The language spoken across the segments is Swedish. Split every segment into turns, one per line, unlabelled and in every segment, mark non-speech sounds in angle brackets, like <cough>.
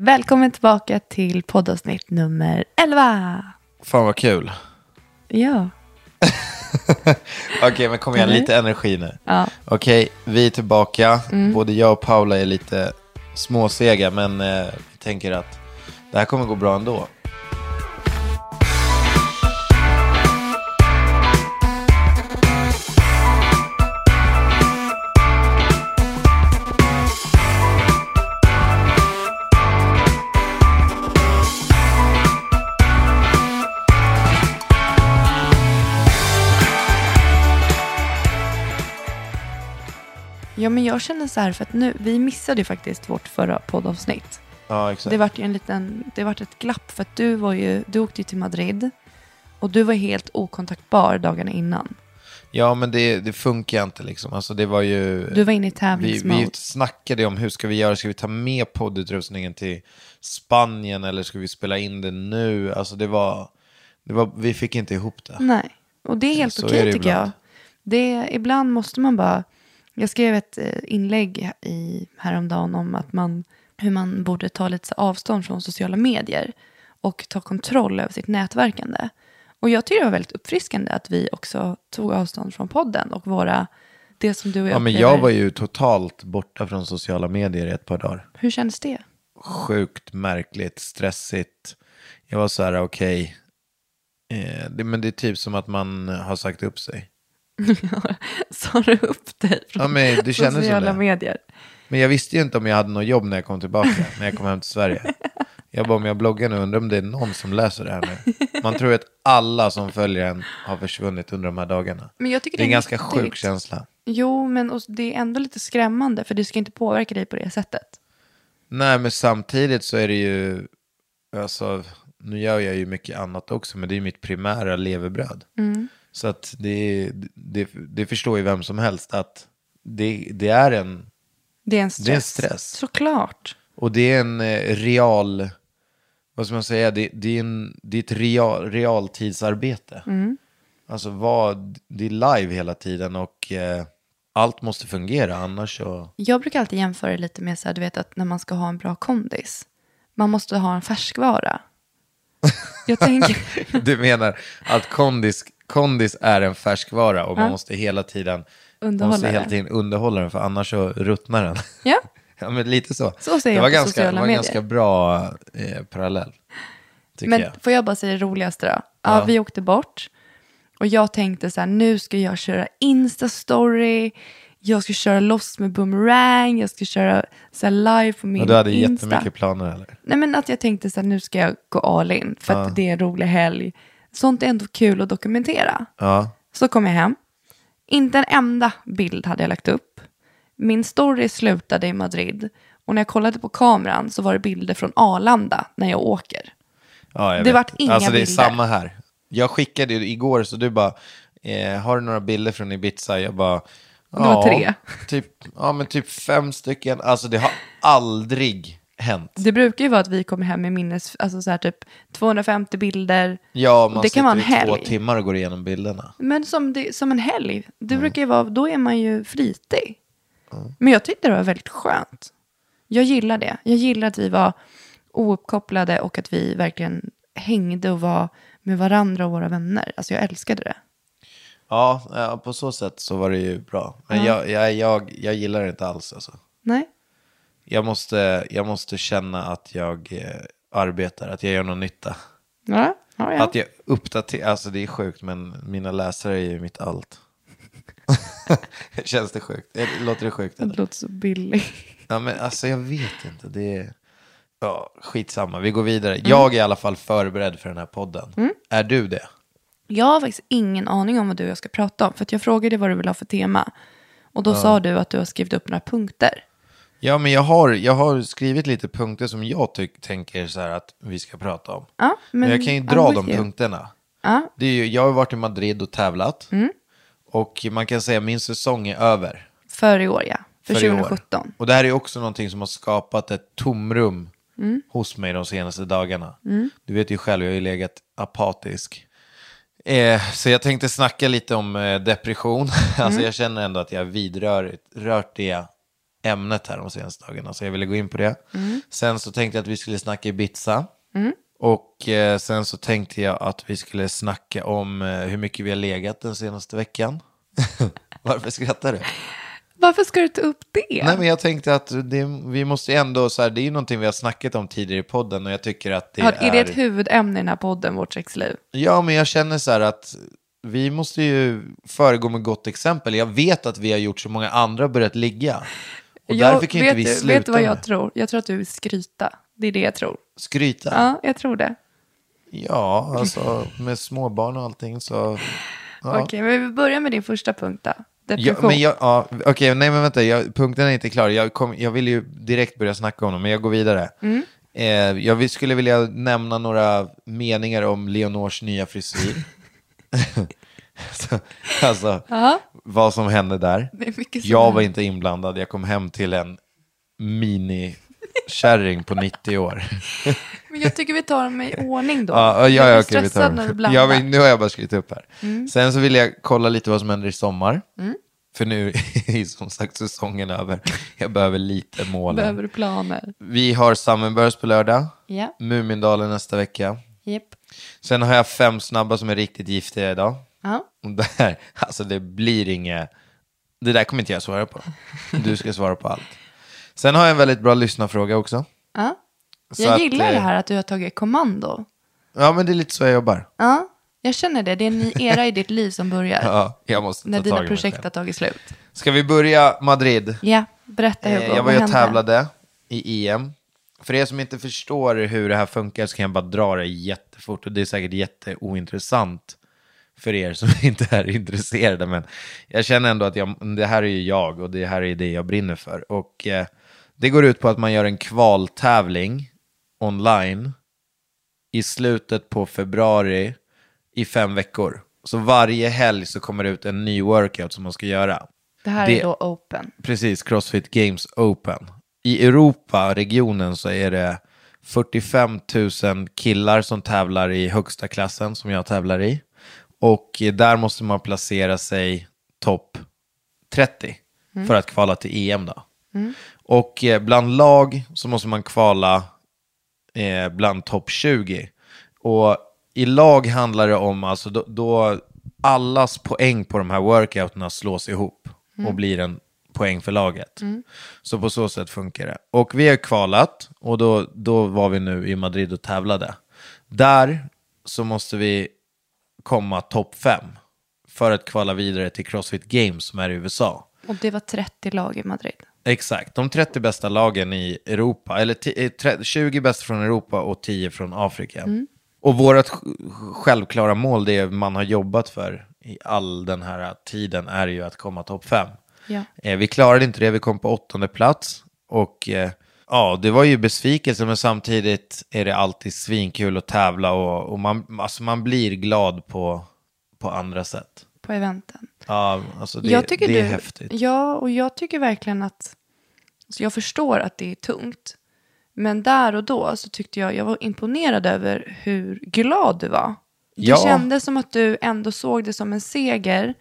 Välkommen tillbaka till poddavsnitt nummer 11.
Fan vad kul.
Ja,
Okej, men kom igen,
Eller?
lite energi nu.
Ja. Mm.
Okej, vi är tillbaka. Både jag och Paula är lite småsega, men eh, vi tänker att det här kommer gå bra ändå.
ja men jag känner så här för att nu, vi missade ju faktiskt vårt förra poddavsnitt.
Ja, exakt.
Det vart ju en liten, det vart ett glapp för att du var ju, du åkte ju till Madrid och du var helt okontaktbar dagarna innan.
Ja, men det, det funkar inte liksom. Alltså, det var ju...
Du var inne i
vi,
tävlingsmode.
vi snackade om hur ska vi göra, ska vi ta med poddutrustningen till Spanien eller ska vi spela in den nu? Alltså det var, det var vi fick inte ihop det.
Nej, och det är helt
Eh, Så
okej
är det
tycker jag.
ibland.
Det, ibland måste man bara... Jag skrev ett eh, inlägg i, häromdagen om att man, hur man borde ta lite så avstånd från sociala medier och ta kontroll över sitt nätverkande. Och jag tycker det var väldigt uppfriskande att vi också tog avstånd från podden och våra... Det som du och jag
Ja, men
upplever.
jag var ju totalt borta från sociala medier i ett par dagar.
Hur kändes det? <laughs>
sjukt märkligt, stressigt. Jag var så här, okej. Eh, det, men det är typ som att man har sagt upp sig.
Sa du upp dig från
Ja, men det kändes som
sociala
det.
medier?
Men jag visste ju inte om jag hade något jobb när jag kom tillbaka, när jag kom hem till Sverige. Jag bara, om jag bloggar nu, undrar om det är någon som läser det här nu. Man tror ju att alla som följer en har försvunnit under de här dagarna.
Men jag tycker
det är en
det är
ganska
nyttigt.
sjuk känsla.
Jo, men och det är ändå lite skrämmande för det ska inte påverka dig på det sättet.
Nej, men samtidigt så är det ju, alltså, nu gör jag ju mycket annat också, men det är ju mitt primära levebröd. Så att det, det, det förstår ju vem som helst att det, det är en,
Det är en stress.
Det är en stress.
Såklart.
och det är en eh, real, vad ska man säga, det, det, är, en, det är ett real, realtidsarbete. Alltså vad, det är live hela tiden och eh, allt måste fungera, annars så,
Jag brukar alltid jämföra det lite med så här, du vet att när man ska ha en bra kondis. Man måste ha en färskvara.
<laughs>
Jag tänker,
Du menar att kondis, kondis är en färskvara och man måste hela tiden man måste
Underhålla
hela
den.
tiden underhålla den för annars så
<laughs>
ruttnar den.
ja,
ja, men lite så.
Så säger
det
jag
var
på
ganska,
sociala
Det var en
medier.
ganska bra eh, parallell, tycker
men
jag.
får jag bara säga det roligaste då? Ja, vi åkte bort. Och jag tänkte så här, nu ska jag köra Insta-story. Jag ska köra loss med boomerang. Jag ska köra så här live på min
Och du hade
Insta.
jättemycket planer eller?
Nej men att jag tänkte så här, nu ska jag gå all in. För att det är en rolig helg. Sånt är ändå kul att dokumentera.
Ja.
Så kom jag hem. Inte en enda bild hade jag lagt upp. Min story slutade i Madrid. Och när jag kollade på kameran så var det bilder från Arlanda när jag åker.
ja jag
Det
vet.
vart inga
Alltså det är
bilder.
samma här. Jag skickade ju igår så du bara, eh, har du några bilder från Ibiza? Jag bara,
Det var tre.
Typ, ja men typ fem stycken. Alltså det har aldrig hänt.
Det brukar ju vara att vi kommer hem med minnes, alltså så här typ 250 bilder.
Ja, man
det
sitter
kan vara en
i två
helg.
timmar och går igenom bilderna.
Men som, det, som en helg, det brukar ju vara, då är man ju flitig. Men jag tyckte det var väldigt skönt. Jag gillar det. Jag gillar att vi var ouppkopplade och att vi verkligen hängde och var med varandra och våra vänner. Alltså jag älskade det.
Ja, ja, på så sätt så var det ju bra. Men jag, jag, jag, jag gillar det inte alls alltså.
Nej?
Jag måste, jag måste känna att jag eh, arbetar, att jag gör någon nytta.
Ja, ja. ja.
Att jag uppdaterar, alltså det är sjukt men mina läsare är ju mitt allt. <laughs> Känns det sjukt? Eller, Låter det sjukt?
Det
Eller?
låter så billigt.
Ja, men alltså jag vet inte. Det är... Ja, skitsamma, vi går vidare.
Mm.
Jag är i alla fall förberedd för den här podden. Är du det?
Jag har faktiskt ingen aning om vad du och jag ska prata om. För att jag frågade vad du vill ha för tema. Och då sa du att du har skrivit upp några punkter.
Ja, men jag har, jag har skrivit lite punkter som jag tyck, tänker så här att vi ska prata om.
Ja,
men,
men
jag kan ju
I'm
dra
with
de
you.
punkterna.
Ja. Mm.
Det är ju, jag har ju varit i Madrid och tävlat. Och man kan säga att min säsong är över.
För i år ja. För,
i år.
2017.
Och det här är ju också någonting som har skapat ett tomrum hos mig de senaste dagarna. Du vet ju själv, jag har ju legat apatisk. Eh, så jag tänkte snacka lite om eh, depression. <laughs> alltså jag känner ändå att jag har vidrört rört det ämnet här de senaste dagarna, så jag ville gå in på det. Sen så tänkte jag att vi skulle snacka Ibiza. Och eh, sen så tänkte jag att vi skulle snacka om eh, hur mycket vi har legat den senaste veckan. <laughs> Varför skrattar du?
Varför ska du ta upp det?
Nej, men jag tänkte att det, vi måste ju ändå, så här, det är ju någonting vi har snackat om tidigare i podden och jag tycker att det
Har-
är...
är det ett huvudämne i den här podden, vårt sexliv?
Ja, men jag känner så här att vi måste ju föregå med gott exempel. Jag vet att vi har gjort så många andra börjat ligga. Och
Jag-
därför kan ju
vet
inte vi
du,
sluta
Vet du vad jag
med
tror? Jag tror att du vill skryta. Det är det jag tror.
skryta. Ja.
Ja, jag tror det.
alltså med småbarn och allting så...
Okej, men vi börjar med din första punkt då.
Ja,
Depression.
men jag, ja, okej, nej men vänta, jag, punkten är inte klar. Jag, kom, jag vill ju direkt börja snacka om dem, men jag går vidare.
Mm.
Eh, jag vill- skulle vilja nämna några meningar om Leonors
<laughs>
nya frisyr. Så, alltså, vad som hände där.
Det är mycket som
Jag
händer.
var inte inblandad, jag kom hem till en minikärring på 90 år.
Men jag tycker vi tar dem i ordning då.
<laughs> Ja, ja, ja,
jag blir
okej, vi tar
stressad
dem.
när du
<laughs> Ja,
blandar. Mm.
men nu har jag bara skrivit upp här. Sen så vill jag kolla lite vad som händer i sommar. För nu <laughs> är som sagt säsongen över. Jag behöver lite mål.
Behöver du planer?
Vi har Summerburst på lördag.
Ja.
Mumindalen nästa vecka.
Japp.
Sen har jag fem snabba som är riktigt giftiga idag.
Ja.
Och Där, <laughs> alltså det blir inget... Det där kommer inte
<laughs>
jag svara på. Du ska svara på allt. Sen har jag en väldigt bra lyssnarfråga också.
Ja.
Så
Jag
att,
gillar det
eh,
här att du har tagit kommando.
Ja, men det är lite så jag jobbar.
Ja, jag känner det. Det är en ny era i ditt liv som börjar.
<laughs> Ja, jag måste
när
ta tag i
dina
mig
projekt
själv.
har tagit slut.
Ska vi börja Madrid?
Ja, berätta Hugo.
Eh, jag
vad
var ju och
hände?
tävlade i EM. För er som inte förstår hur det här funkar så kan jag bara dra det jättefort och det är säkert jätteointressant för er som <laughs> inte är intresserade. Men jag känner ändå att jag, det här är ju jag och det här är det jag brinner för. Och eh, det går ut på att man gör en kvaltävling online i slutet på februari i fem veckor. Så varje helg så kommer det ut en ny workout som man ska göra.
Det här
Det-
är då open.
Precis, Crossfit Games Open. I Europa, regionen, så är det 45 000 killar som tävlar i högsta klassen som jag tävlar i. Och eh, där måste man placera sig topp 30 för att kvala till EM då. Och eh, bland lag så måste man kvala eh, bland topp 20. Och i lag handlar det om alltså då, då allas poäng på de här workouterna slås ihop och blir en poäng för laget. Så på så sätt funkar det. Och vi har kvalat och då, då var vi nu i Madrid och tävlade. Där så måste vi komma topp 5 för att kvala vidare till Crossfit Games som är i USA.
Och det var 30 lag i Madrid.
Exakt, de 30 bästa lagen i Europa, eller ti- eh, tre- 20 bästa från Europa och 10 från Afrika.
Mm.
Och vårt sj- självklara mål, det man har jobbat för i all den här tiden, är ju att komma topp 5.
Ja.
Eh, vi klarade inte det, vi kom på åttonde plats. Och eh, ja, det var ju besvikelse, men samtidigt är det alltid svinkul att tävla och, och man, alltså man blir glad på, på andra sätt.
På eventen.
Ja, alltså det,
jag tycker
det är
du,
häftigt.
Ja, och jag tycker verkligen att... Så jag förstår att det är tungt. Men där och då så tyckte jag jag var imponerad över hur glad du var. Det
Ja.
kändes som att du ändå såg det som en seger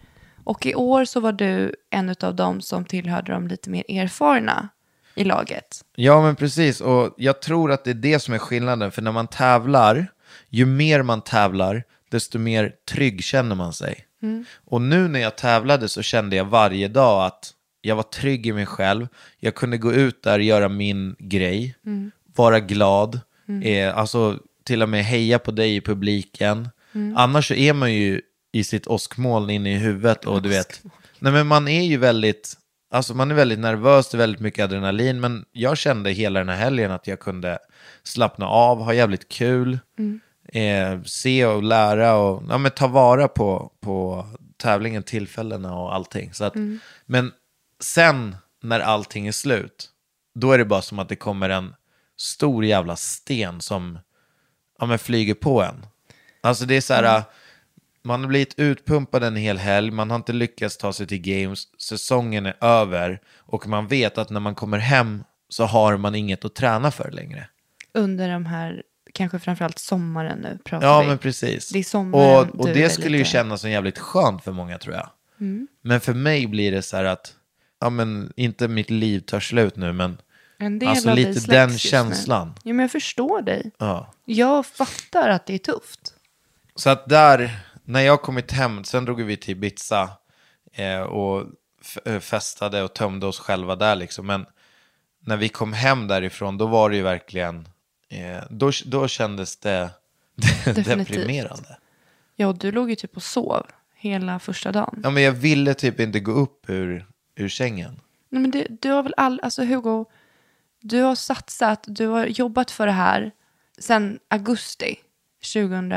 Och i år så var du en av dem som tillhörde de lite mer erfarna i laget.
Ja, men precis. Och jag tror att det är det som är skillnaden. För när man tävlar, ju mer man tävlar, desto mer trygg känner man sig. Och nu när jag tävlade så kände jag varje dag att jag var trygg i mig själv. Jag kunde gå ut där och göra min grej, vara glad, eh, alltså till och med heja på dig i publiken. Annars så är man ju i sitt åskmoln inne i huvudet och du vet, nej men man är ju väldigt Alltså man är väldigt nervös, det är väldigt mycket adrenalin, men jag kände hela den här helgen att jag kunde slappna av, ha jävligt kul, eh, se och lära och ja, men ta vara på, på tävlingen, tillfällena och allting. Så att, Men sen när allting är slut, då är det bara som att det kommer en stor jävla sten som ja, men flyger på en. Alltså det är så här, man har blivit utpumpad en hel helg, man har inte lyckats ta sig till games, säsongen är över och man vet att när man kommer hem så har man inget att träna för längre.
Under de här, kanske framförallt sommaren nu pratar
Ja,
vi.
men precis.
Det är sommaren
och och
du
det
är
skulle ju
lite- Mm.
kännas som jävligt skönt för många tror jag. Men för mig blir det så här att, ja men inte mitt liv tar slut nu, men
En del
Alltså,
av dig
lite
släcks
den
just nu.
känslan.
Ja, men jag förstår dig.
ja.
Jag fattar att det är tufft.
Så att där, när jag kommit hem, sen drog vi till Ibiza eh, och f- eh, festade och tömde oss själva där liksom. Men när vi kom hem därifrån, då var det ju verkligen, eh, då, då kändes det <laughs>
Definitivt.
deprimerande.
Ja, och du låg ju typ och sov hela första dagen.
Ja, men jag ville typ inte gå upp ur, ur sängen.
Nej, men du, du har väl all, alltså Hugo, du har satsat, du har jobbat för det här sedan augusti 2000,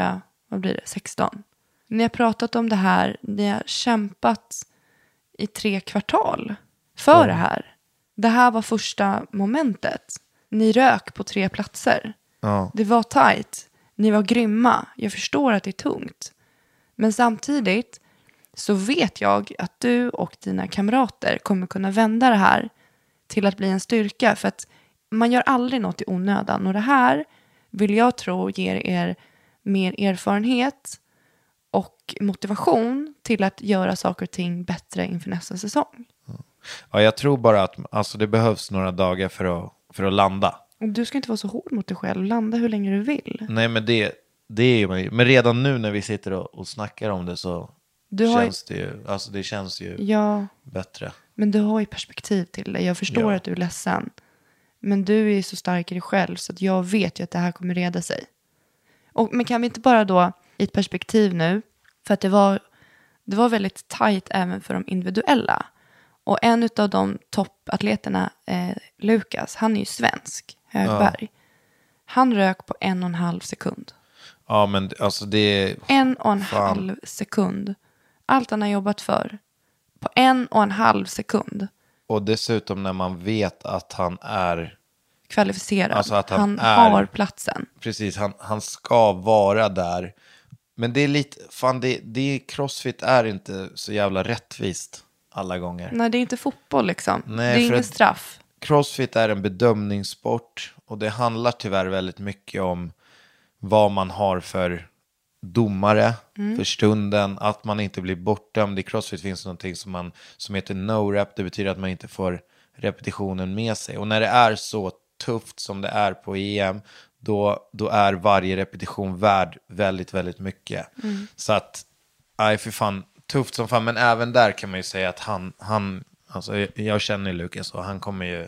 vad blir det, 16. Ni har pratat om det här, ni har kämpat i tre kvartal för det här. Det här var första momentet. Ni rök på tre platser.
Ja.
Det var tajt. Ni var grymma. Jag förstår att det är tungt. Men samtidigt så vet jag att du och dina kamrater kommer kunna vända det här till att bli en styrka. För att man gör aldrig något i onödan. Och det här vill jag tro ger er mer erfarenhet och motivation till att göra saker och ting bättre inför nästa säsong.
ja, jag tror bara att alltså, det behövs några dagar för att, för att landa.
Och du ska inte vara så hård mot dig själv. Landa hur länge du vill.
Nej, men det, det är ju, men redan nu när vi sitter och, och snackar om det så
Du har ju-
känns det ju, alltså det känns ju
Ja.
bättre.
Men du har ju perspektiv till det. Jag förstår
Ja.
att du är ledsen. Men du är ju så stark i dig själv så att jag vet ju att det här kommer reda sig. Och, men kan vi inte bara då i ett perspektiv nu, för att det var, det var väldigt tajt även för de individuella. Och en av de toppatleterna, eh, Lukas, han är ju svensk, Högberg. Han rök på en och en halv sekund.
Ja, men alltså det...
En och en
Fan.
halv sekund. Allt han har jobbat för. På en och en halv sekund.
Och dessutom när man vet att han är...
kvalificerad.
Alltså att han är-
har platsen.
Precis, han, han ska vara där. Men det är lite... Fan, det, det, crossfit är inte så jävla rättvist alla gånger.
Nej, det är inte fotboll liksom.
Nej,
det är
för
ingen
att-
straff.
Crossfit är en bedömningssport och det handlar tyvärr väldigt mycket om vad man har för domare för stunden, att man inte blir bortdömd. I crossfit finns någonting som, man, som heter no-rep, det betyder att man inte får repetitionen med sig. Och när det är så tufft som det är på EM, då, då är varje repetition värd väldigt, väldigt mycket. Så att, nej för fan, tufft som fan, men även där kan man ju säga att han, han alltså jag, jag känner ju Lukas och han kommer ju,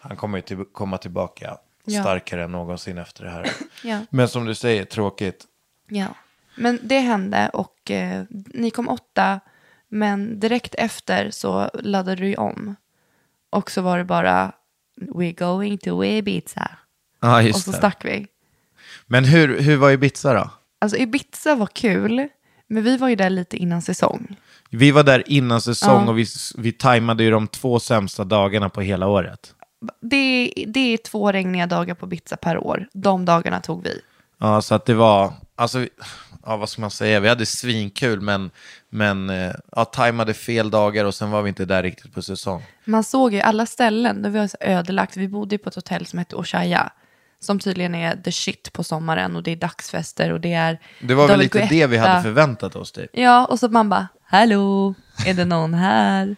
han kommer ju till, komma tillbaka
Ja.
starkare än någonsin efter det här.
Ja.
Men som du säger, tråkigt.
Ja. Men det hände och eh, ni kom åtta. Men direkt efter så laddade du ju om. Och så var det bara We're going to Ibiza.
Ja,
Och så stack vi.
Men hur, hur var Ibiza då?
Alltså Ibiza var kul. Men vi var ju där lite innan säsong.
Vi var där innan säsong och vi, s- vi tajmade ju de två sämsta dagarna på hela året.
Det, det är två regniga dagar på Ibiza per år. De dagarna tog vi.
Ja, så att det var, alltså, vi- ja, vad ska man säga, vi hade svinkul men, men eh, ja, tajmade fel dagar och sen var vi inte där riktigt på säsong.
Man såg ju alla ställen, det var så ödelagt. Vi bodde ju på ett hotell som hette Oshaya. som tydligen är the shit på sommaren och det är dagsfester och det är
Det var väl
David
lite det
Guetta.
vi hade förväntat oss typ.
Ja, och så man bara, hallå, är det någon här?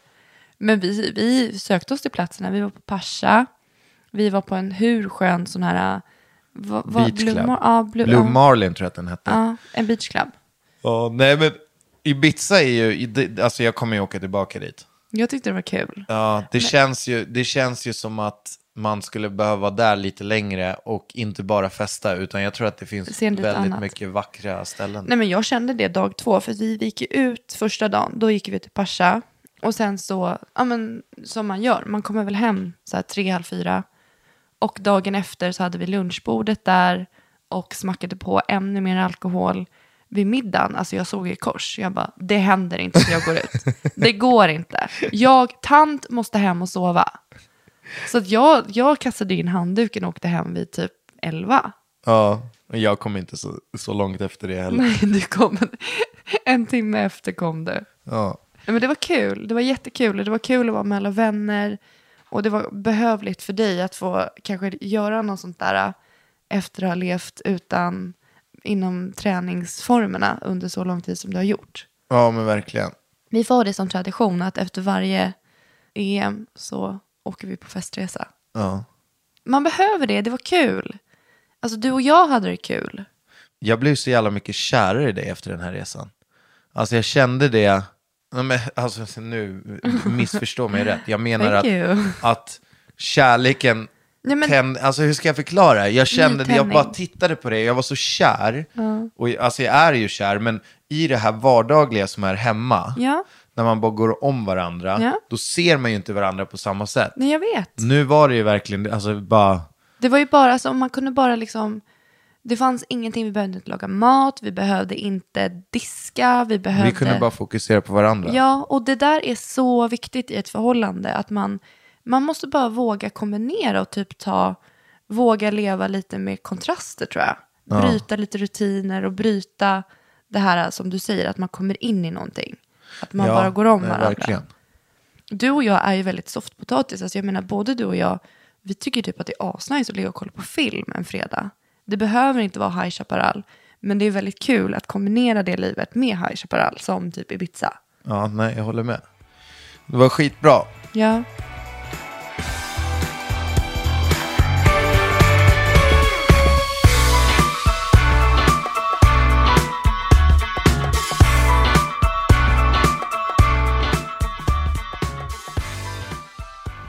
Men vi, vi sökte oss till platserna, vi var på Pascha, vi var på en hur skön sån här... eh, Vad,
Beach
vad,
Club.
Blue, Mar- ja, Blue,
Blue
ja,
Marlin tror jag att den hette.
ja, en beachclub.
Ja, nej men Ibiza är ju, i- det- alltså jag kommer ju åka tillbaka dit.
Jag tyckte det var kul.
Ja, det, känns ju, det känns ju som att man skulle behöva vara där lite längre och inte bara festa, utan jag tror att det finns
Se lite
väldigt
annat.
mycket vackra ställen.
Nej, men jag kände det dag två, för vi, vi gick ju ut första dagen, då gick vi till Pascha. Och sen så, ja men som man gör, man kommer väl hem så här tre, halv fyra. Och dagen efter så hade vi lunchbordet där och smackade på ännu mer alkohol. Vid middagen, alltså jag såg i kors, jag bara, det händer inte att jag går ut. Det går inte. Jag, tant, måste hem och sova. Så att jag, jag kastade in handduken och åkte hem vid typ elva.
Ja, och jag kom inte så, så långt efter det
<laughs>
heller.
Nej, du kom en timme efter kom du.
Ja.
Nej, Men det var kul, det var jättekul och det var kul att vara med alla vänner. Och det var behövligt för dig att få kanske göra något sånt där äh, efter att ha levt utan inom träningsformerna under så lång tid som du har gjort.
ja, men verkligen.
Vi får ha det som tradition att efter varje EM så åker vi på festresa.
Ja.
Man behöver det, det var kul. Alltså du och jag hade det kul.
jag blev så jävla mycket kärare i dig efter den här resan. Alltså jag kände det, Nej, men, alltså, nu missförstå mig rätt, jag menar
Thank
att,
you.
att kärleken,
Nej, men-
tänd, alltså hur ska jag förklara? Jag kände det, jag
Nytändning.
bara tittade på dig, jag var så kär, och, alltså jag är ju kär, men i det här vardagliga som är hemma,
Ja.
när man bara går om varandra,
Ja.
då ser man ju inte varandra på samma sätt.
Nej, jag vet.
Nu var det ju verkligen, alltså bara,
Det var ju bara, alltså, man kunde bara liksom, det fanns ingenting, vi behövde inte laga mat, vi behövde inte diska, vi behövde...
vi kunde bara fokusera på varandra.
Ja, och det där är så viktigt i ett förhållande, att man, man måste bara våga kombinera och typ ta, våga leva lite med kontraster tror jag. Bryta lite rutiner och bryta det här som du säger, att man kommer in i någonting. Att man
Ja,
bara går om
nej,
varandra
Verkligen.
du och jag är ju väldigt softpotatis. Alltså jag menar, både du och jag, vi tycker typ att det är asnice att ligga och kolla på film en fredag. Det behöver inte vara High Chaparral, men det är väldigt kul att kombinera det livet med High Chaparral, som typ Ibiza.
Ja, nej, jag håller med. Det var skitbra.
Ja.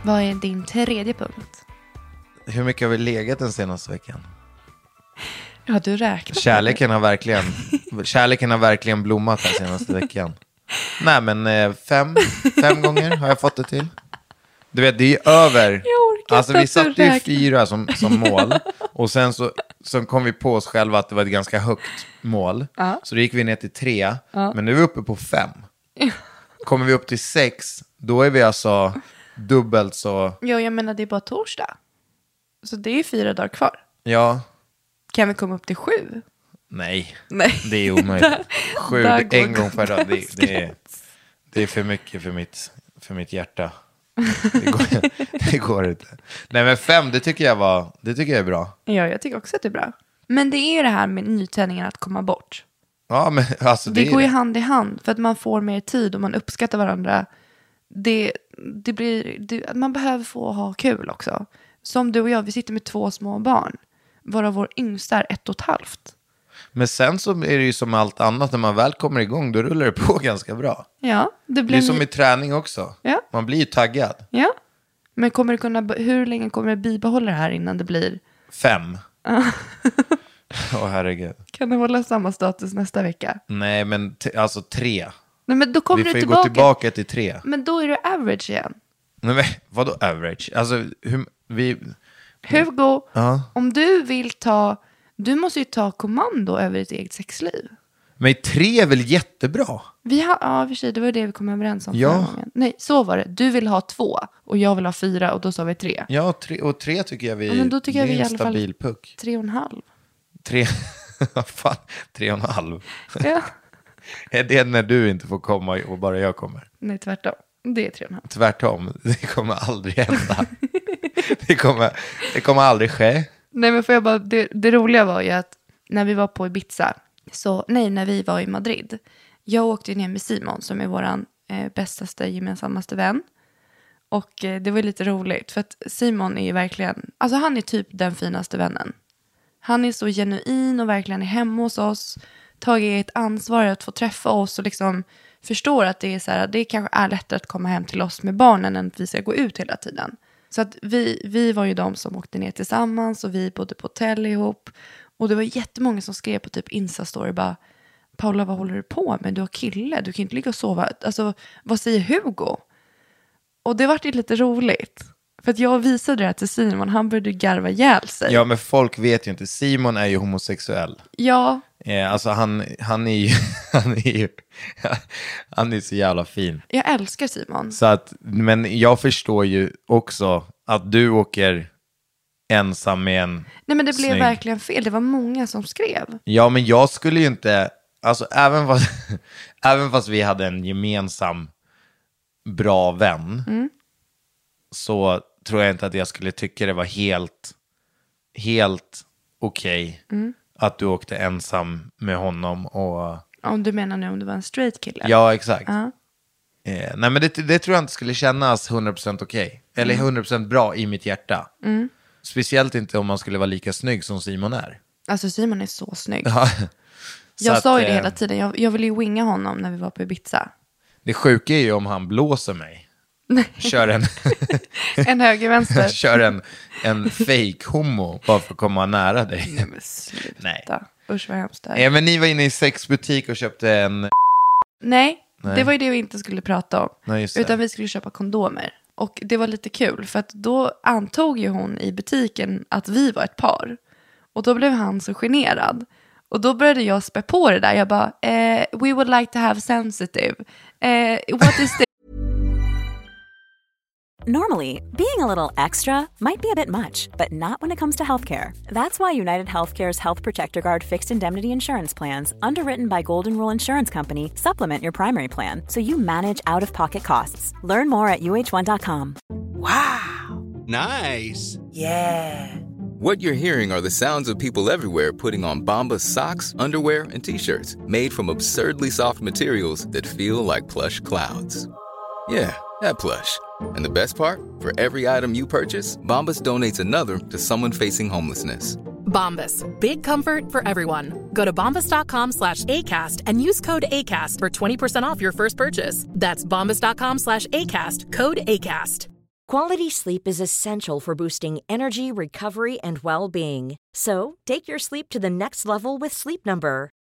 Vad är din tredje punkt?
Hur mycket har vi legat den senaste veckan?
Ja, du räknar.
Kärleken har verkligen,
<laughs>
kärleken har verkligen blommat den senaste veckan. Nej, men eh, fem, fem gånger har jag fått det till. Du vet, det är ju över.
orkar
alltså,
inte
vi
att du
satte ju
räknar.
fyra som,
<laughs>
som mål. Och sen så, så kom vi på oss själva att det var ett ganska högt mål. Så då gick vi ner till tre. Men nu är vi uppe på fem. Kommer vi upp till sex, då är vi alltså dubbelt så...
Jo, jag menar det är bara torsdag. Så det är fyra dagar kvar.
Ja,
Kan vi komma upp till sju?
Nej,
Nej.
det är
<laughs>
omöjligt. Sju,
där går
en gång per dag, det,
Gustavs
det, är, det är för mycket för mitt, för mitt hjärta. Det går, <laughs> det går inte. Nej men fem, det tycker jag, var, det tycker jag är bra.
Ja, jag tycker också att det är bra. Men det är ju det här med nytändningen att komma bort.
Ja, men, <laughs> alltså,
Det,
det är
går ju
det.
hand i hand för att man får mer tid och man uppskattar varandra. Det, det blir, det, man behöver få ha kul också. Som du och jag, vi sitter med två små barn. Varav vår yngsta är ett och ett halvt.
Men sen så är det ju som allt annat, när man väl kommer igång då rullar det på <laughs> ganska bra.
Ja, det
Det
blir...
är som i träning också.
Ja.
Man blir ju taggad.
Ja. Men kommer du kunna, hur länge kommer du bibehålla det här innan det blir...
Fem. <laughs> Åh herregud.
Kan det hålla samma status nästa vecka?
Nej men t- alltså tre.
Nej, men då
Vi
kommer
får
du
ju
tillbaka.
gå tillbaka till tre.
Men då är du average igen.
Nej, men vadå average? Alltså, hur, vi...
Hugo,
Mm. Ja.
om du vill ta... Du måste ju ta kommando över ditt eget sexliv.
Men tre är väl jättebra?
Vi har, ja, i och för sig, det var det vi kom överens om
Ja.
förra gången. Nej, så var det. Du vill ha två och jag vill ha fyra och då sa vi tre.
Ja, tre, och tre tycker jag vi...
Ja, men då tycker jag
det är
vi i
en
alla fall-
stabil puck.
Tre och en halv.
Tre... <laughs> Fan, tre och en halv.
Ja.
Är det när du inte får komma och bara jag kommer?
Nej, tvärtom. Det är tre och en halv. <laughs>
Tvärtom, det kommer aldrig hända. det, kommer, det kommer aldrig ske.
Nej men får jag bara, det, det roliga var ju att när vi var på Ibiza, så, nej när vi var i Madrid, jag åkte ju ner med Simon som är våran eh, bästaste gemensammaste vän. Och eh, det var ju lite roligt för att Simon är ju verkligen, alltså han är typ den finaste vännen. Han är så genuin och verkligen är hemma hos oss, tagit ett ansvar att få träffa oss och liksom förstår att det är så här, det kanske är lättare att komma hem till oss med barnen än att vi ska gå ut hela tiden. Så att vi, vi var ju de som åkte ner tillsammans och vi bodde på hotell ihop. Och det var jättemånga som skrev på typ Insta-story bara Paula vad håller du på med? Du har kille, du kan inte ligga och sova. Alltså vad säger Hugo? Och det vart ju lite roligt. För att jag visade det här till Simon, han började garva ihjäl sig.
Ja, men folk vet ju inte. Simon är ju homosexuell.
ja
Eh, alltså han, han är ju, <laughs> han är ju, <laughs> han är så jävla fin.
jag älskar Simon.
Så att, men jag förstår ju också att du åker ensam med en
Nej men det blev
Snygg.
verkligen fel, det var många som skrev.
Ja, men jag skulle ju inte, alltså även fast, <laughs> även fast vi hade en gemensam bra vän, så tror jag inte att jag skulle tycka det var helt, helt okej att du åkte ensam med honom och,
Om du menar nu om det var en straight kille.
ja exakt.
Ja.
Eh, nej, men det, det tror jag inte skulle kännas 100% okej, eller
Mm.
100% bra i mitt hjärta. Speciellt inte om man skulle vara lika snygg som Simon är. <laughs>
Alltså Simon är så snygg.
Så
jag
att,
sa ju det
eh,
hela tiden, jag, jag ville ju winga honom när vi var på Ibiza.
Det sjuka är ju om han blåser mig.
<laughs>
Kör en, <laughs>
En höger vänster.
kör en, en fake homo bara för att komma nära dig.
Men sluta.
Nej.
Usch vad hemskt det här är.
Ja, men ni var inne i sexbutik och köpte en...
Nej,
Nej.
det var ju det vi inte skulle prata om.
Nej, just det.
utan vi skulle köpa kondomer. Och det var lite kul för att då antog ju hon i butiken att vi var ett par. Och då blev han så generad. Och då började jag spä på det där. Jag bara, eh, we would like to have sensitive. Eh, what is this?
Normally, being a little extra might be a bit much, but not when it comes to healthcare. That's why United Healthcare's Health Protector Guard fixed indemnity insurance plans, underwritten by Golden Rule Insurance Company, supplement your primary plan so you manage out of pocket costs. Learn more at uh1.com.
Nice.
What you're hearing are the sounds of people everywhere putting on Bombas socks, underwear, and t-shirts made from absurdly soft materials that feel like plush clouds. Yeah, that plush. And the best part? For every item you purchase, Bombas donates another to someone facing homelessness.
Bombas. Big comfort for everyone. Go to bombas.com slash ACAST and use code ACAST for 20% off your first purchase. That's bombas.com slash ACAST. Code ACAST.
Quality sleep is essential for boosting energy, recovery, and well being. So, take your sleep to the next level with Sleep Number.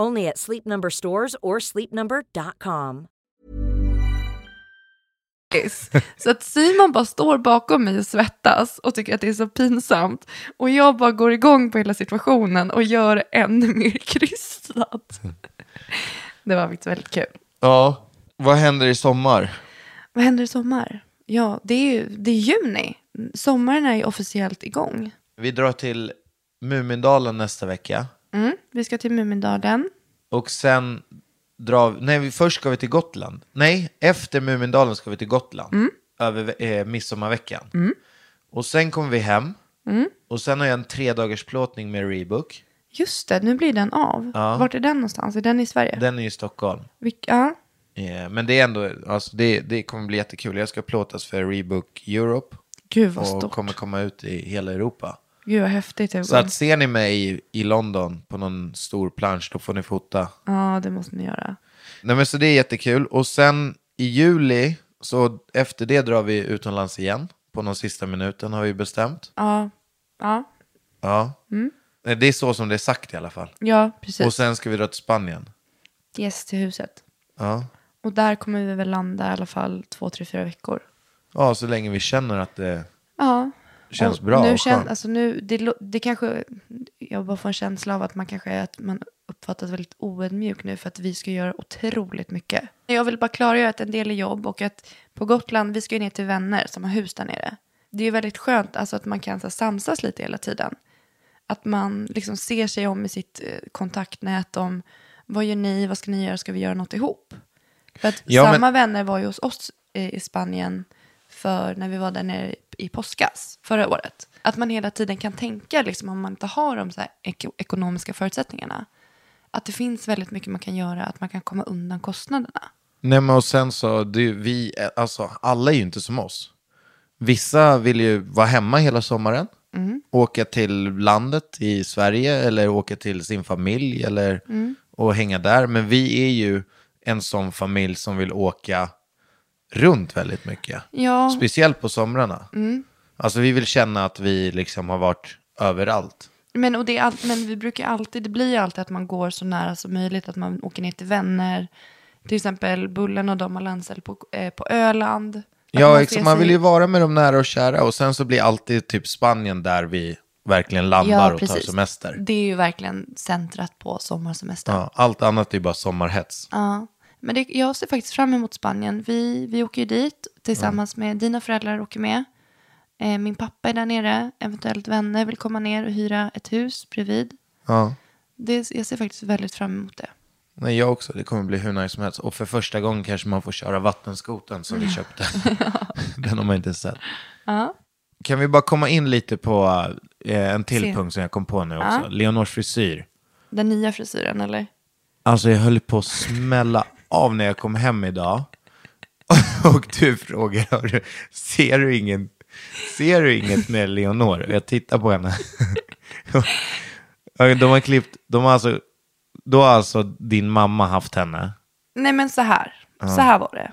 Only at Sleep Number stores or sleepnumber.com.
<laughs> Så att Simon bara står bakom mig och svettas och tycker att det är så pinsamt. Och jag bara går igång på hela situationen och gör det ännu mer
<laughs>
krystat. Det var faktiskt väldigt kul.
Ja, vad händer i sommar?
Vad händer i sommar? Ja, det är ju det är juni. Sommaren är ju officiellt igång.
Vi drar till Mumindalen nästa vecka.
Mm, vi ska till Mumindalen.
Och sen drar nej vi, först ska vi till Gotland. Nej, efter Mumindalen ska vi till Gotland.
Mm.
Över eh, midsommarveckan. Och sen kommer vi hem.
Mm.
Och sen har jag en tre dagars plåtning med Rebook.
Just det, nu blir den av.
Ja.
Vart är den någonstans? Är den i Sverige?
Den är ju i Stockholm.
Vilk- ja.
Eh, men det är ändå, alltså det, det kommer bli jättekul. Jag ska plåtas för Rebook Europe.
Gud vad
och
stort.
kommer komma ut i hela Europa.
Gud vad häftigt. Hugo.
Så att ser ni mig i, i London på någon stor plansch, då får ni fota.
Ja, det måste ni göra.
Nej men så det är jättekul. Och sen i juli, så efter det drar vi utomlands igen. På någon sista minuten har vi bestämt.
Ja, ja,
Ja. Nej, Det är så som det är sagt i alla fall.
ja precis.
Och sen ska vi dra till Spanien.
Gästhuset.
Ja.
Och där kommer vi väl landa i alla fall två, tre, fyra veckor.
ja, så länge vi känner att det
Ja.
känns
Och
bra
Nu
och
kän,
skönt.
alltså nu, det, lo- det kanske, jag Jag bara får en känsla av att man kanske är att man uppfattas väldigt oödmjuk nu för att vi ska göra otroligt mycket. Jag vill bara klargöra att en del är jobb och att på Gotland, vi ska ju ner till vänner som har hus där nere. Det är ju väldigt skönt alltså, att man kan så, här, samsas lite hela tiden. Att man liksom ser sig om i sitt eh, kontaktnät om vad gör ni, vad ska ni göra, ska vi göra något ihop? För att
Ja, men-
samma vänner var ju hos oss eh, i Spanien för när vi var där nere i påskas förra året. Att man hela tiden kan tänka, liksom, om man inte har de så här ek- ekonomiska förutsättningarna, att det finns väldigt mycket man kan göra, att man kan komma undan kostnaderna.
Nej, men och sen så, det, vi, alltså alla är ju inte som oss. Vissa vill ju vara hemma hela sommaren,
Mm.
åka till landet i Sverige eller åka till sin familj eller,
Mm.
och hänga där. Men vi är ju en sån familj som vill åka runt väldigt mycket.
Ja. Mm.
Speciellt på somrarna. Alltså vi vill känna att vi liksom har varit överallt.
Men, och det är all, men vi brukar alltid, det blir ju alltid att man går så nära som möjligt, att man åker ner till vänner. Till exempel Bullen och de har landställ på, eh, på Öland. Att
Ja,
ser
exakt. Man
sig-
vill ju vara med de nära och kära och sen så blir alltid typ Spanien där vi verkligen landar och tar
precis.
semester.
Det är ju verkligen centrat på sommarsemestern.
Ja, allt annat är ju bara sommarhets.
Ja. Men det, jag ser faktiskt fram emot Spanien. Vi, vi åker ju dit tillsammans med dina föräldrar åker med. Eh, min pappa är där nere, eventuellt vänner vill komma ner och hyra ett hus bredvid.
Ja.
Det, jag ser faktiskt väldigt fram emot det.
Nej, jag också. Det kommer bli hur nice som helst. Och för första gången kanske man får köra vattenskoten som vi
<laughs>
köpte. <laughs> Den har man inte sett.
Ja.
Kan vi bara komma in lite på eh, en till
Se.
punkt som jag kom på nu också. Leonors frisyr.
Den nya frisyren eller?
Alltså jag höll på att smälla av när jag kom hem idag. <laughs> Och du frågar, "Hör du, ser du, ingen, ser du inget med Leonor? Och jag tittar på henne. <laughs> Och De har klippt, de har alltså, då har alltså din mamma haft henne.
Nej men så här. Så här var det.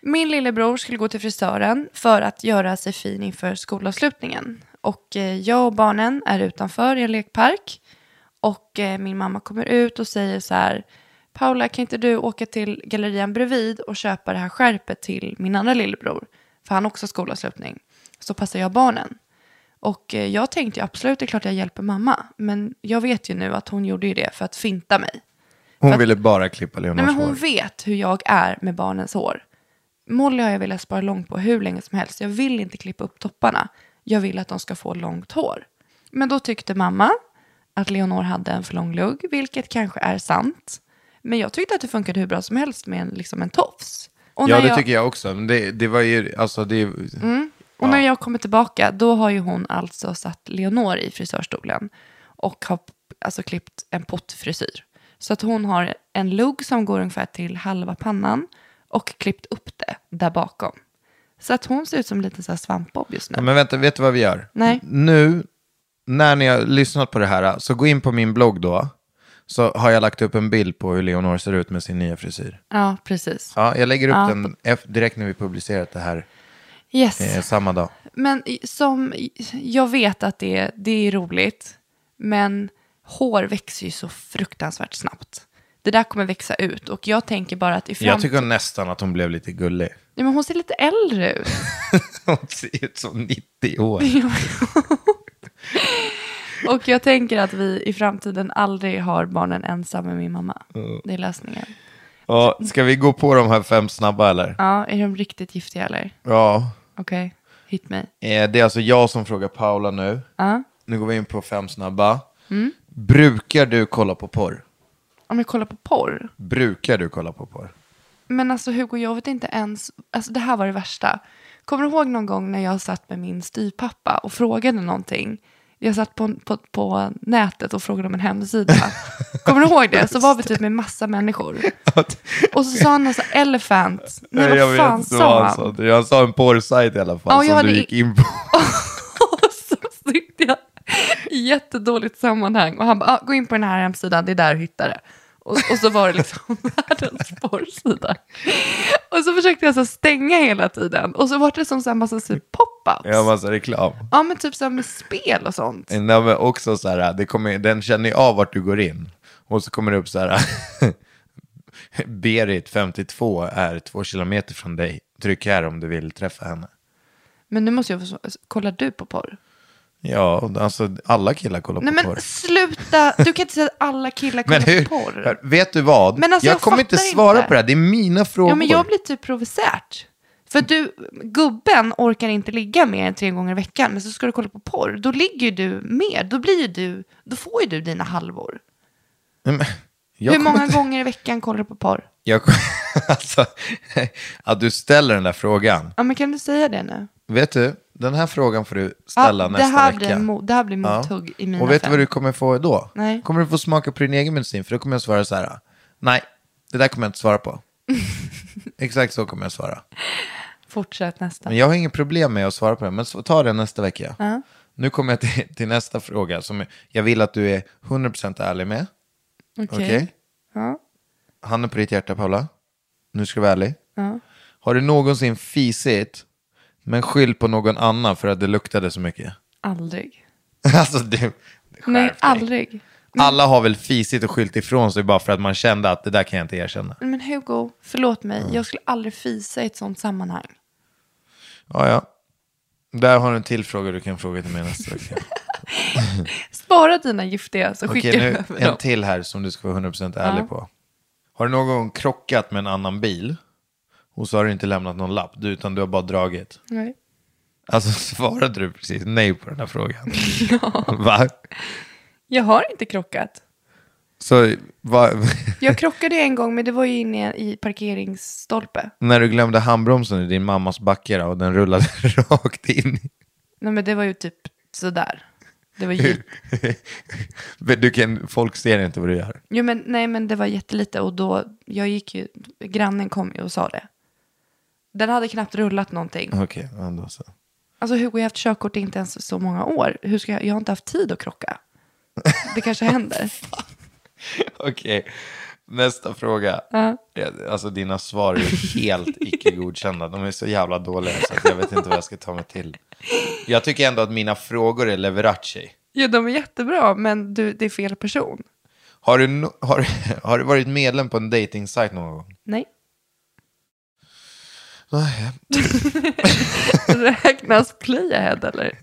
Min lillebror skulle gå till frisören för att göra sig fin inför skolavslutningen. Och eh, jag och barnen är utanför i en lekpark. Och eh, min mamma kommer ut och säger så här. Paula kan inte du åka till gallerian bredvid och köpa det här skärpet till min andra lillebror? För han har också skolavslutning. Så passar jag barnen. Och eh, jag tänkte ju absolut det är klart jag hjälper mamma. Men jag vet ju nu att hon gjorde ju det för att finta mig.
Hon
För att-
ville bara klippa Leonors
Nej, men hon
hår.
vet hur jag är med barnens hår. Molly har jag velat spara långt på hur länge som helst. Jag vill inte klippa upp topparna. Jag vill att de ska få långt hår. Men då tyckte mamma att Leonor hade en för lång lugg, vilket kanske är sant. Men jag tyckte att det funkade hur bra som helst med en, liksom en tofs. Och
Ja,
när
det tycker jag också. Men det, det var ju, alltså det...
och när jag kommer tillbaka, då har ju hon alltså satt Leonor i frisörstolen och har alltså klippt en pottfrisyr. Så att hon har en lugg som går ungefär till halva pannan och klippt upp det där bakom. Så att hon ser ut som en liten så här svampbob just nu.
Ja, Men vänta, vet du vad vi gör?
Nej.
Nu, när ni har lyssnat på det här, så gå in på min blogg då. Så har jag lagt upp en bild på hur Leonor ser ut med sin nya frisyr.
Ja, precis.
Ja, jag lägger upp
Ja.
den eff- direkt när vi publicerat det här,
Yes.
eh, samma dag.
Men i- som, jag vet att det, det är roligt, men hår växer ju så fruktansvärt snabbt. Det där kommer växa ut och jag tänker bara att i
Jag
framtiden...
tycker nästan att hon blev lite gullig.
Nej, men hon ser lite äldre ut.
<laughs> Hon ser ut som
<laughs>
90 år.
Och jag tänker att vi i framtiden aldrig har barnen ensam med min mamma. Det är lösningen.
Ja, ska vi gå på de här fem snabba eller?
Ja, är de riktigt giftiga eller?
Ja.
Okej, hit me.
Eh, Det är alltså jag som frågar Paula nu. Nu går vi in på fem snabba.
Mm.
Brukar du kolla på porr?
Om jag kollar på porr.
Brukar du kolla på porr?
Men alltså Hugo, jag vet inte ens. Alltså det här var det värsta. Kommer du ihåg någon gång när jag satt med min styvpappa och frågade någonting? Jag satt på, på, på nätet och frågade om en <laughs> hemsida. Kommer du ihåg det? Så var vi typ med massa människor. Och så sa han något så här, elephant. Nej, vad fan sa han?
sa. Jag sa en porrsajt i alla fall
Ja, jag
som
hade
du
i-
gick
<laughs>
in på.
Och så tyckte jag i jättedåligt sammanhang. Och han bara, ah, gå in på den här hemsidan, det är där du hittar det. Och, och så var det liksom <laughs> världens porrsida. Och så försökte jag så stänga hela tiden. Och så var det som så här massa så här pop-ups.
Jag har massa reklam.
Ja, men typ så här med spel och sånt.
Nej, men också så här, det kommer, den känner ju av vart du går in. Och så kommer det upp så här. <laughs> Berit, 52, är två kilometer från dig. Tryck här om du vill träffa henne.
Men nu måste jag få, kollar du på porr?
Ja, alltså alla killar kollar
Nej
på
men
porr.
sluta, du kan inte säga att alla killar kollar
Men hur,
på porr.
hör, vet du vad?
Men alltså,
jag,
jag
kommer inte
fattar
svara
inte.
på det här, det är mina frågor.
Ja, men jag blir typ provocerad. För att du, gubben orkar inte ligga mer än tre gånger i veckan, men så ska du kolla på porr. Då ligger ju du mer, då blir ju du, då får ju du dina halvor.
Nej, men jag
Hur
kommer
många
inte- <laughs>
gånger i veckan kollar du på porr?
Jag, kom- alltså, <laughs> att du ställer den där frågan.
Ja, men kan du säga det nu? Vet
Du, den här frågan får du ställa
ja, det
nästa
här Blir
vecka.
mo- det här blir
Ja.
mothugg i mina
Och vet du
fem.
vad du kommer få då?
Nej.
Kommer du få smaka på din egen medicin? För då kommer jag svara så här. Nej, det där kommer jag inte
<laughs>
svara på. Exakt så kommer jag svara.
Fortsätt nästa.
Men jag har inget problem med att svara på det, men så- ta det nästa vecka. Nu kommer jag till, till nästa fråga som jag vill att du är 100% ärlig med. Okej?
Ja.
Handen på ditt hjärta, Paula. Nu ska du vara ärlig. Har du någonsin fisit, men skyll på någon annan för att det luktade så mycket?
Aldrig.
<laughs> alltså, du, skärp
Nej,
dig.
aldrig.
Alla har väl fisit och skyllt ifrån sig bara för att man kände att det där kan jag inte erkänna.
Men Hugo, förlåt mig,
Mm.
jag skulle aldrig fisa i ett sånt sammanhang.
Ja, ja. Där har du en till fråga du kan fråga till mig nästa
<laughs>
vecka.
Spara dina giftiga så
Okej,
skickar du
nu
över
en
dem.
till här som du ska vara 100% ärlig på. Har du någon gång krockat med en annan bil och så har du inte lämnat någon lapp, du- utan du har bara dragit?
Nej.
Alltså <laughs> svarade du precis nej på den
<laughs>
här frågan? ja. Va?
Jag har inte krockat.
Så va, <laughs>
Jag krockade en gång, men det var ju inne i parkeringsstolpe.
när du glömde handbromsen i din mammas backe då, och den rullade <laughs> rakt in i...
Nej, men det var ju typ sådär. Det var ju...
<laughs> Men du kan, folk ser inte vad du gör.
Jo, men nej, men det var jättelite och då, jag gick ju, grannen kom ju och sa det. Den hade knappt rullat någonting.
Okej, okay, ändå så.
Alltså Hugo, jag har haft körkort i inte ens så många år. Hur ska jag, jag har inte haft tid att krocka. Det kanske händer.
Okej, nästa fråga. Ja, Alltså dina svar är ju helt icke godkända. De är så jävla dåliga så att jag vet inte vad jag ska ta mig till. Jag tycker ändå att mina frågor är Leverace.
Jo, de är jättebra, men du, det är fel person.
Har du, no- har, <laughs> har du varit medlem på en dating-sajt någon gång?
Nej.
Nej.
Räknas playahead eller?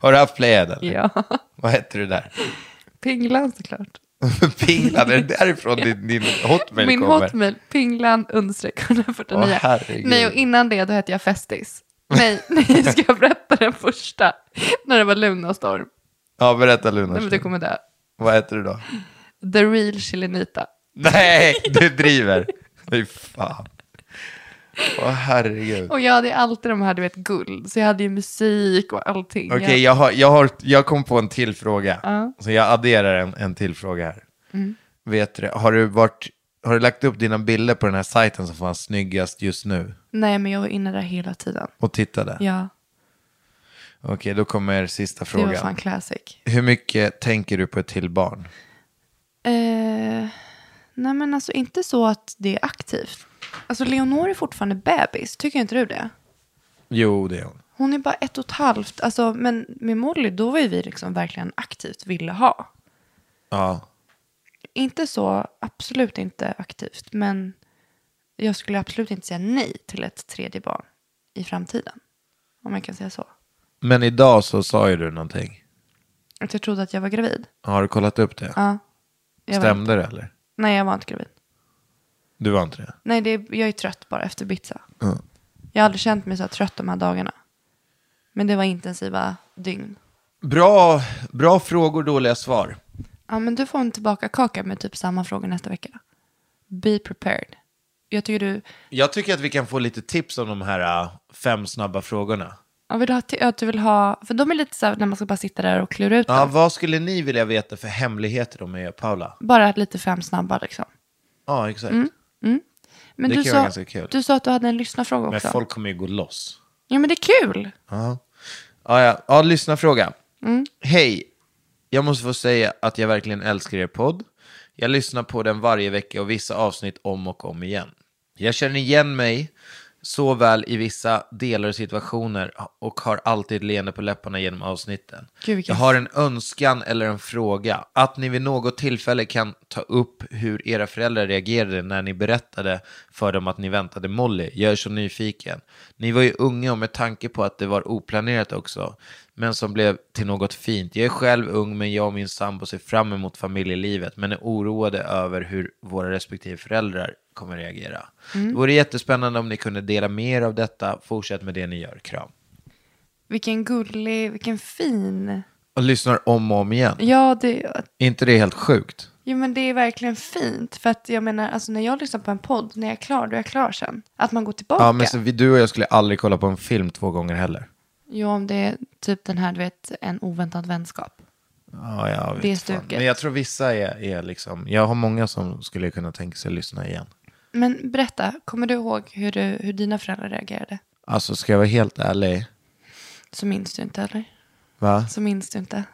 Har du haft Playhead eller?
Ja.
Vad hette du där? <laughs>
Pinglan såklart.
Pinglan, är det därifrån din, din hotmail
Min
kommer?
hotmail, pinglan understreck 149.
Åh, herregud.
nej, och innan det då hette jag Festis. Nej, <laughs> nej, ska jag berätta den första? När det var Lunarstorm.
Ja, berätta Luna.
Nej, men du kommer dö.
Vad heter du då?
The real Chilenita.
Nej, du driver. Fy fan. Åh herregud.
Och jag hade alltid de här, du vet, guld. Så jag hade ju musik och allting.
Okej,
Jag-
jag, har, jag, har, jag kom på en till fråga. Så jag adderar en, en till fråga här.
Mm.
Vet du, har, du varit, har du lagt upp dina bilder på den här sajten som fanns snyggast just nu?
Nej, men jag var inne där hela tiden.
Och tittade?
Ja,
Okej, då kommer sista
det var fan
frågan.
classic.
Hur mycket tänker du på ett till barn?
Eh, nej, men alltså inte så att det är aktivt. Alltså, Leonor är fortfarande bebis. Tycker inte du det?
Jo, det är hon.
Hon är bara ett och ett halvt. Alltså, men med Molly, då var ju vi liksom verkligen aktivt ville ha.
Ja.
Inte så, absolut inte aktivt. Men jag skulle absolut inte säga nej till ett tredje barn i framtiden. Om man kan säga så.
Men idag så sa ju du någonting.
Att jag trodde att jag var gravid.
Har du kollat upp det?
Ja. Jag var,
Stämde det eller?
nej, jag var inte gravid.
Du var inte det?
Nej, det, är- jag är trött bara efter pizza. Jag har aldrig känt mig så här trött de här dagarna. Men det var intensiva dygn.
Bra, bra frågor, dåliga svar.
Ja, men du får en tillbaka kaka med typ samma fråga nästa vecka. Be prepared. Jag tycker du...
Jag tycker att vi kan få lite tips om de här äh, fem snabba frågorna.
Jag vill ha, ti- att du vill ha... För de är lite så här när man ska bara sitta där och klura ut
Ja,
dem.
vad skulle ni vilja veta för hemligheter om er, Paula?
Bara lite fem snabba liksom.
Ja, exakt.
Mm, Men
Det
du
kan
sa,
vara ganska kul.
Du sa att du hade en lyssnarfråga
Men
också.
folk kommer ju gå loss.
Ja, men det är kul.
Ja, ja, ja. ja lyssna fråga.
Mm.
Hej, jag måste få säga att jag verkligen älskar er podd. Jag lyssnar på den varje vecka och vissa avsnitt om och om igen. Jag känner igen mig såväl i vissa delar och situationer och har alltid ett leende på läpparna genom avsnitten.
Gud, vilken-
Jag har en önskan eller en fråga. Att ni vid något tillfälle kan ta upp hur era föräldrar reagerade när ni berättade för dem att ni väntade Molly. Jag är så nyfiken. Ni var ju unga och med tanke på att det var oplanerat också, men som blev till något fint. Jag är själv ung, men jag och min sambo ser fram emot familjelivet, men är oroade över hur våra respektive föräldrar kommer reagera. Det vore jättespännande om ni kunde dela mer av detta. Fortsätt med det ni gör. Kram.
Vilken gullig, vilken fin.
Och lyssnar om och om igen.
Ja, det,
Är inte det helt sjukt?
Jo men det är verkligen fint. För att jag menar, alltså när jag lyssnar på en podd, när jag är klar, då är jag klar sen. Att man går tillbaka.
Ja, men så vi, du och jag skulle aldrig kolla på en film två gånger heller.
Jo, om det är typ den här, du vet, en oväntad vänskap.
Ja, jag vet
Det är
fan.
stuket.
Men jag tror vissa är, är liksom, jag har många som skulle kunna tänka sig att lyssna igen.
Men berätta, kommer du ihåg hur, du, hur dina föräldrar reagerade?
Alltså ska jag vara helt ärlig,
Så minns du inte eller?
va?
Så minns du inte.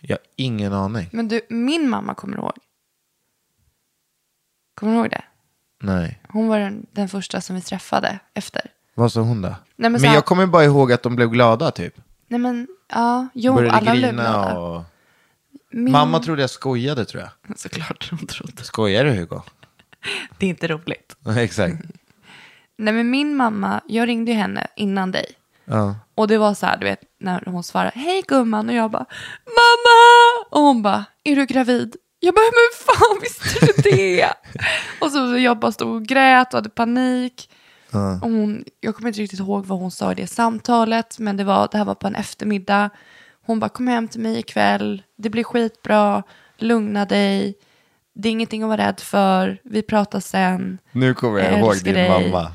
Jag har ingen aning.
Men du, min mamma kommer ihåg. Kommer du ihåg det?
Nej.
Hon var den, den första som vi träffade efter.
Vad sa hon då?
men
men
så här-
jag kommer bara ihåg att de blev glada typ.
Nej men, ja, jo,
Började
alla blev
grina
glada.
och...
Min...
Mamma trodde jag skojade tror
<laughs>
jag.
Såklart hon trodde.
Skojar du Hugo? <laughs>
Det är inte roligt.
Exakt.
Nej men min mamma, jag ringde ju henne innan dig.
Ja.
Och det var så här, du vet, när hon svarade hej gumman och jag bara mamma! Och hon bara, är du gravid? Jag bara, men fan visste du det? och så jag bara stod och grät och hade panik. Och hon, jag kommer inte riktigt ihåg vad hon sa i det samtalet, men det, var, det här var på en eftermiddag. Hon bara, kom hem till mig ikväll, det blir skitbra, lugna dig, det är ingenting att vara rädd för, vi pratar sen.
Nu kommer jag,
Jag
ihåg
älskar
din
dig.
mamma.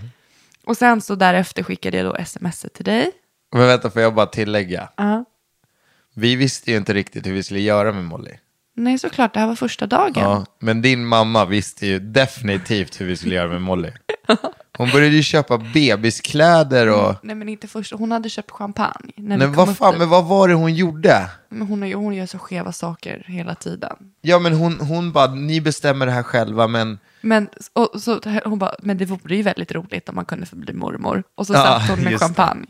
Och sen så därefter skickade jag då sms till dig.
Men vänta, får jag bara tillägga?
Ja.
Vi visste ju inte riktigt hur vi skulle göra med Molly.
Nej, såklart. Det här var första dagen.
Ja, men din mamma visste ju definitivt hur vi skulle göra
<laughs>
med Molly. Hon började ju köpa bebiskläder och...
Nej, men inte första. Hon hade köpt champagne. När
Nej,
Mm. vi kom
vad
upp
fan,
dit.
men vad var det hon gjorde?
men hon, har ju- hon gör så skeva saker hela tiden.
Ja, men hon, hon bara, ni bestämmer det här själva, men...
Men, och, så, hon bara, men det vore ju väldigt roligt om man kunde få bli mormor. Och så
Ja,
satt hon med
just det.
champagne.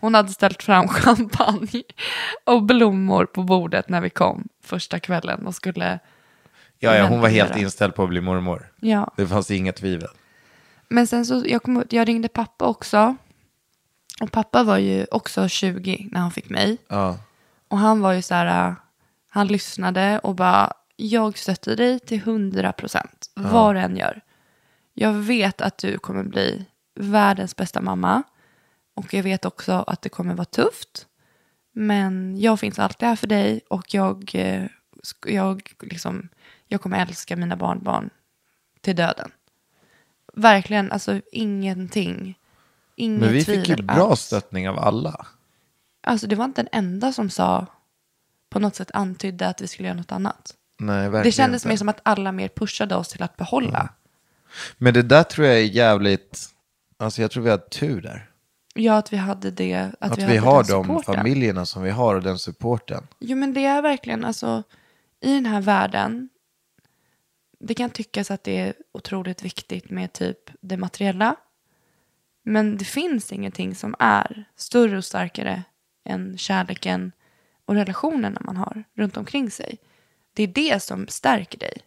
Hon hade ställt fram <laughs> champagne och blommor på bordet när vi kom första kvällen och skulle...
Ja, ja, hon var helt
Vänta.
inställd på att bli mormor.
Ja.
Det fanns inga tvivel.
Men sen så, jag, kom, jag ringde pappa också. Och pappa var ju också 20 när han fick mig.
Ja.
Och han var ju så här, äh, han lyssnade och bara, jag stöttar dig till 100 procent, vad du än gör. Jag vet att du kommer bli världens bästa mamma. Och jag vet också att det kommer vara tufft. Men jag finns alltid här för dig och jag, eh, sk- jag, liksom, jag kommer älska mina barnbarn till döden. Verkligen, alltså ingenting. Inget
Men vi fick ju
tvivel
bra
alls.
stöttning av alla.
Alltså det var inte en enda som sa, på något sätt antydde att vi skulle göra något annat.
Nej, verkligen
Det kändes
inte.
mer som att alla mer pushade oss till att behålla.
Men det där tror jag är jävligt... Alltså jag tror vi har tur där.
Ja, att vi hade det. Att,
Att, vi,
hade
har
den
de
supporten.
familjerna som vi har och den supporten.
Jo, men det är verkligen, alltså, i den här världen, det kan tyckas att det är otroligt viktigt med typ det materiella. Men det finns ingenting som är större och starkare än kärleken och relationerna man har runt omkring sig. Det är det som stärker dig.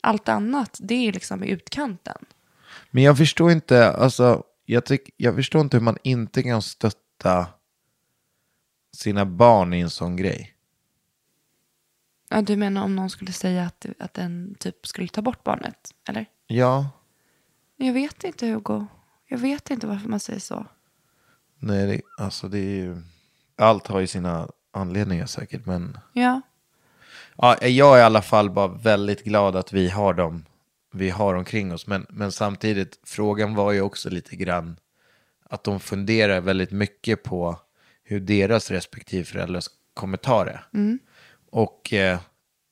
Allt annat, det är liksom i utkanten.
Men jag förstår inte, alltså, jag, tyck, jag förstår inte hur man inte kan stötta sina barn i en sån grej.
Ja, du menar om någon skulle säga att, att den typ skulle ta bort barnet, eller?
Ja,
Jag vet inte, Hugo. Jag vet inte varför man säger så.
nej, det, alltså det är ju, allt har ju sina anledningar säkert, men
Ja.
ja, jag är i alla fall bara väldigt glad att vi har dem, vi har omkring oss, men, men samtidigt, frågan var ju också lite grann att de funderar väldigt mycket på hur deras respektive föräldrar kommer ta det. Och eh,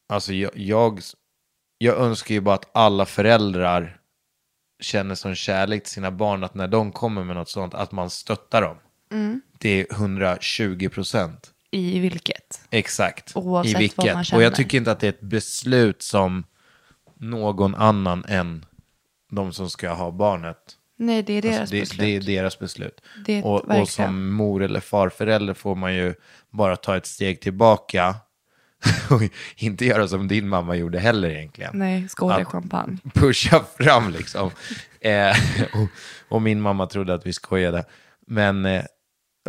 alltså jag, jag, jag önskar ju bara att alla föräldrar känner som kärlek till sina barn, att när de kommer med något sånt, att man stöttar dem. Det är 120 procent.
I vilket?
Exakt.
Oavsett
I
vad
vilket.
man
Och
känner.
jag tycker inte att det är ett beslut som någon annan än de som ska ha barnet
Nej, det är deras
Alltså, det,
beslut.
det är deras beslut.
Det är ett
och, och
verkligen.
som mor eller farförälder får man ju bara ta ett steg tillbaka <laughs> och inte göra som din mamma gjorde heller egentligen.
Nej, skål i
Att-
champagne.
pusha fram liksom. Eh, och, och min mamma trodde att vi skojade. Men eh,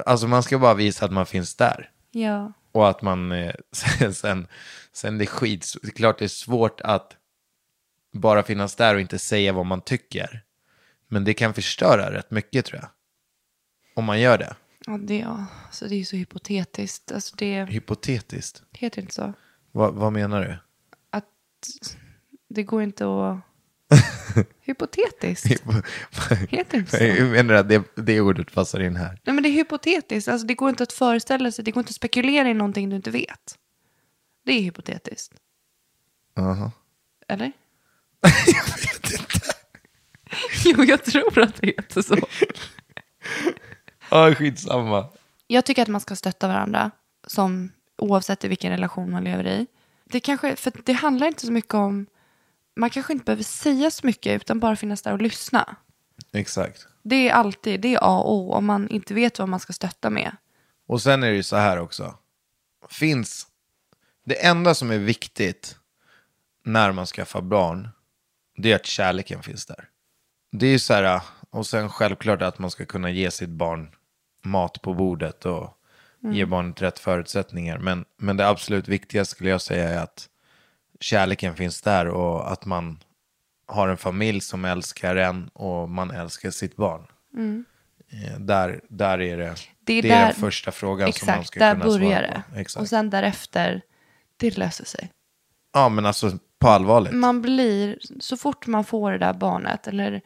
alltså man ska bara visa att man finns där.
Ja.
Och att man eh, <laughs> sen, sen, sen det är skit, det är klart det är svårt att bara finnas där och inte säga vad man tycker. Men det kan förstöra rätt mycket tror jag. Om man gör det.
Ja, det, ja. Så det är ju så hypotetiskt. Alltså det
Hypotetiskt.
heter inte så.
Vad- vad menar du? <laughs>
Att det går inte att... hypotetiskt. Heter inte så.
Jag menar att det, det ordet passar in här.
Nej, men det är hypotetiskt. Alltså det går inte att föreställa sig. Det går inte att spekulera i någonting du inte vet. Det är hypotetiskt.
Aha. <laughs>
Eller? <laughs> jo, jag tror att det heter så.
Ja, skitsamma.
Jag tycker att man ska stötta varandra, som, oavsett i vilken relation man lever i. Det, kanske, för det handlar inte så mycket om... Man kanske inte behöver säga så mycket, utan bara finnas där och lyssna.
Exakt.
Det är alltid det är A och O, om man inte vet vad man ska stötta med.
Och sen är det ju så här också. Finns, det enda som är viktigt när man skaffar barn, det är att kärleken finns där. Det är ju så här, och sen självklart att man ska kunna ge sitt barn mat på bordet och
Mm.
ge barnet rätt förutsättningar. Men, men det absolut viktigaste skulle jag säga är att kärleken finns där och att man har en familj som älskar en och man älskar sitt barn. Eh, Där, där är det,
Mm. Det är,
den
där-
första frågan
exakt,
som man ska
där
kunna
börjar
svara
det.
på. Exakt.
Och sen därefter, det löser sig.
ja, men alltså på allvarligt.
Man blir, så fort man får det där barnet, eller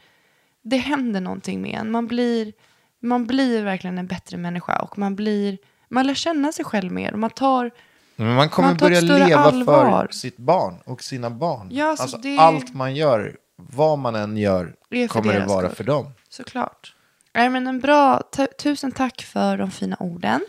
det händer någonting med en, man blir, man blir verkligen en bättre människa och man blir, man lär känna sig själv mer och man tar,
Men man kommer
Man tar ett
börja
större
leva
allvar.
för sitt barn och sina barn.
Ja, alltså,
alltså,
det-
Allt man gör, vad man än gör,
Det är för
kommer det
deras
vara
skull.
för dem.
såklart. Nej men en bra, tu- tusen tack för de fina orden.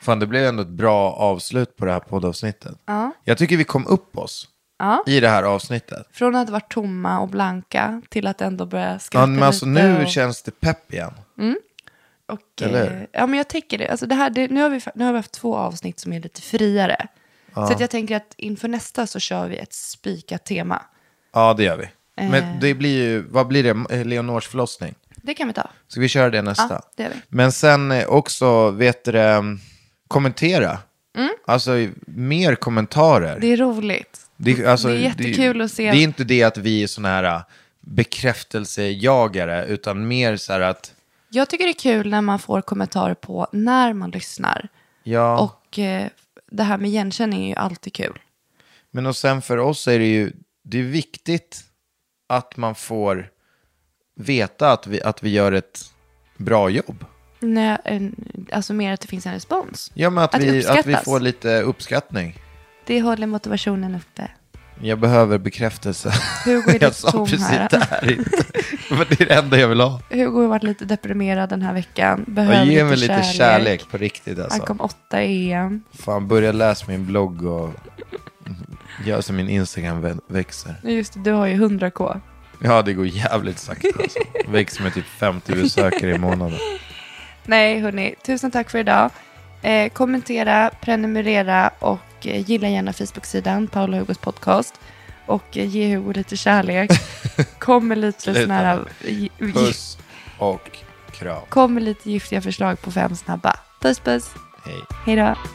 Fan, det blev ändå ett bra avslut på det här poddavsnittet. Jag tycker vi kom upp oss
Ja.
i det här avsnittet.
Från att vara tomma och blanka till att ändå börja skratta
Ja, men alltså,
lite
nu
och...
känns det pepp igen.
Och,
Eller?
eh, ja, men jag tänker det. Alltså det, här, det nu, har vi, fa- nu har vi haft två avsnitt som är lite friare. Så att jag tänker att inför nästa så kör vi ett spikat tema.
Ja, det gör vi.
Eh.
Men det blir ju, vad blir det? Eh, Leonors förlossning.
Det kan vi ta.
Ska vi köra det nästa?
Ja, det gör vi.
Men sen eh, också, vet du det, mm, kommentera. Alltså mer kommentarer.
Mm. Det är roligt.
Det, alltså,
Det är jättekul
det,
att se.
Det är inte det att vi är sådana här äh, bekräftelsejagare, utan mer så här att,
Jag tycker det är kul när man får kommentarer på när man lyssnar.
ja,
Och eh, det här med igenkänning är ju alltid kul.
men och sen för oss är det ju, det är viktigt att man får veta att vi, att vi gör ett bra jobb.
När, en- alltså mer att det finns en respons.
Ja, men att,
Att
vi, att vi
uppskattas.
får lite uppskattning.
Det håller motivationen uppe.
Jag behöver bekräftelse.
Hugo är lite
<laughs> jag sa
tom
precis
här.
det här inte. Men det är det enda jag vill ha.
Hugo har varit lite deprimerad den här veckan. Behöver
Och ge
lite,
mig lite kärlek.
kärlek.
på riktigt alltså.
Han kom åtta i E EM.
Fan, börja läsa min blogg och gör så min Instagram vä- växer.
Nej, Just det, du har ju 100k.
Ja, det går jävligt sakta alltså. Växer med typ 50 besökare
<laughs>
i månaden.
Nej, hörni, tusen tack för idag. Eh, kommentera, prenumerera och eh, gilla gärna Facebook-sidan Paula Hugos podcast. Och eh, ge Hugo lite
<laughs>
kärlek. Kom med lite
Sluta
såna här... gi- <laughs> gi-
Puss och kram.
Kom med lite giftiga förslag på fem snabba. Puss, puss.
Hej.
Hej då.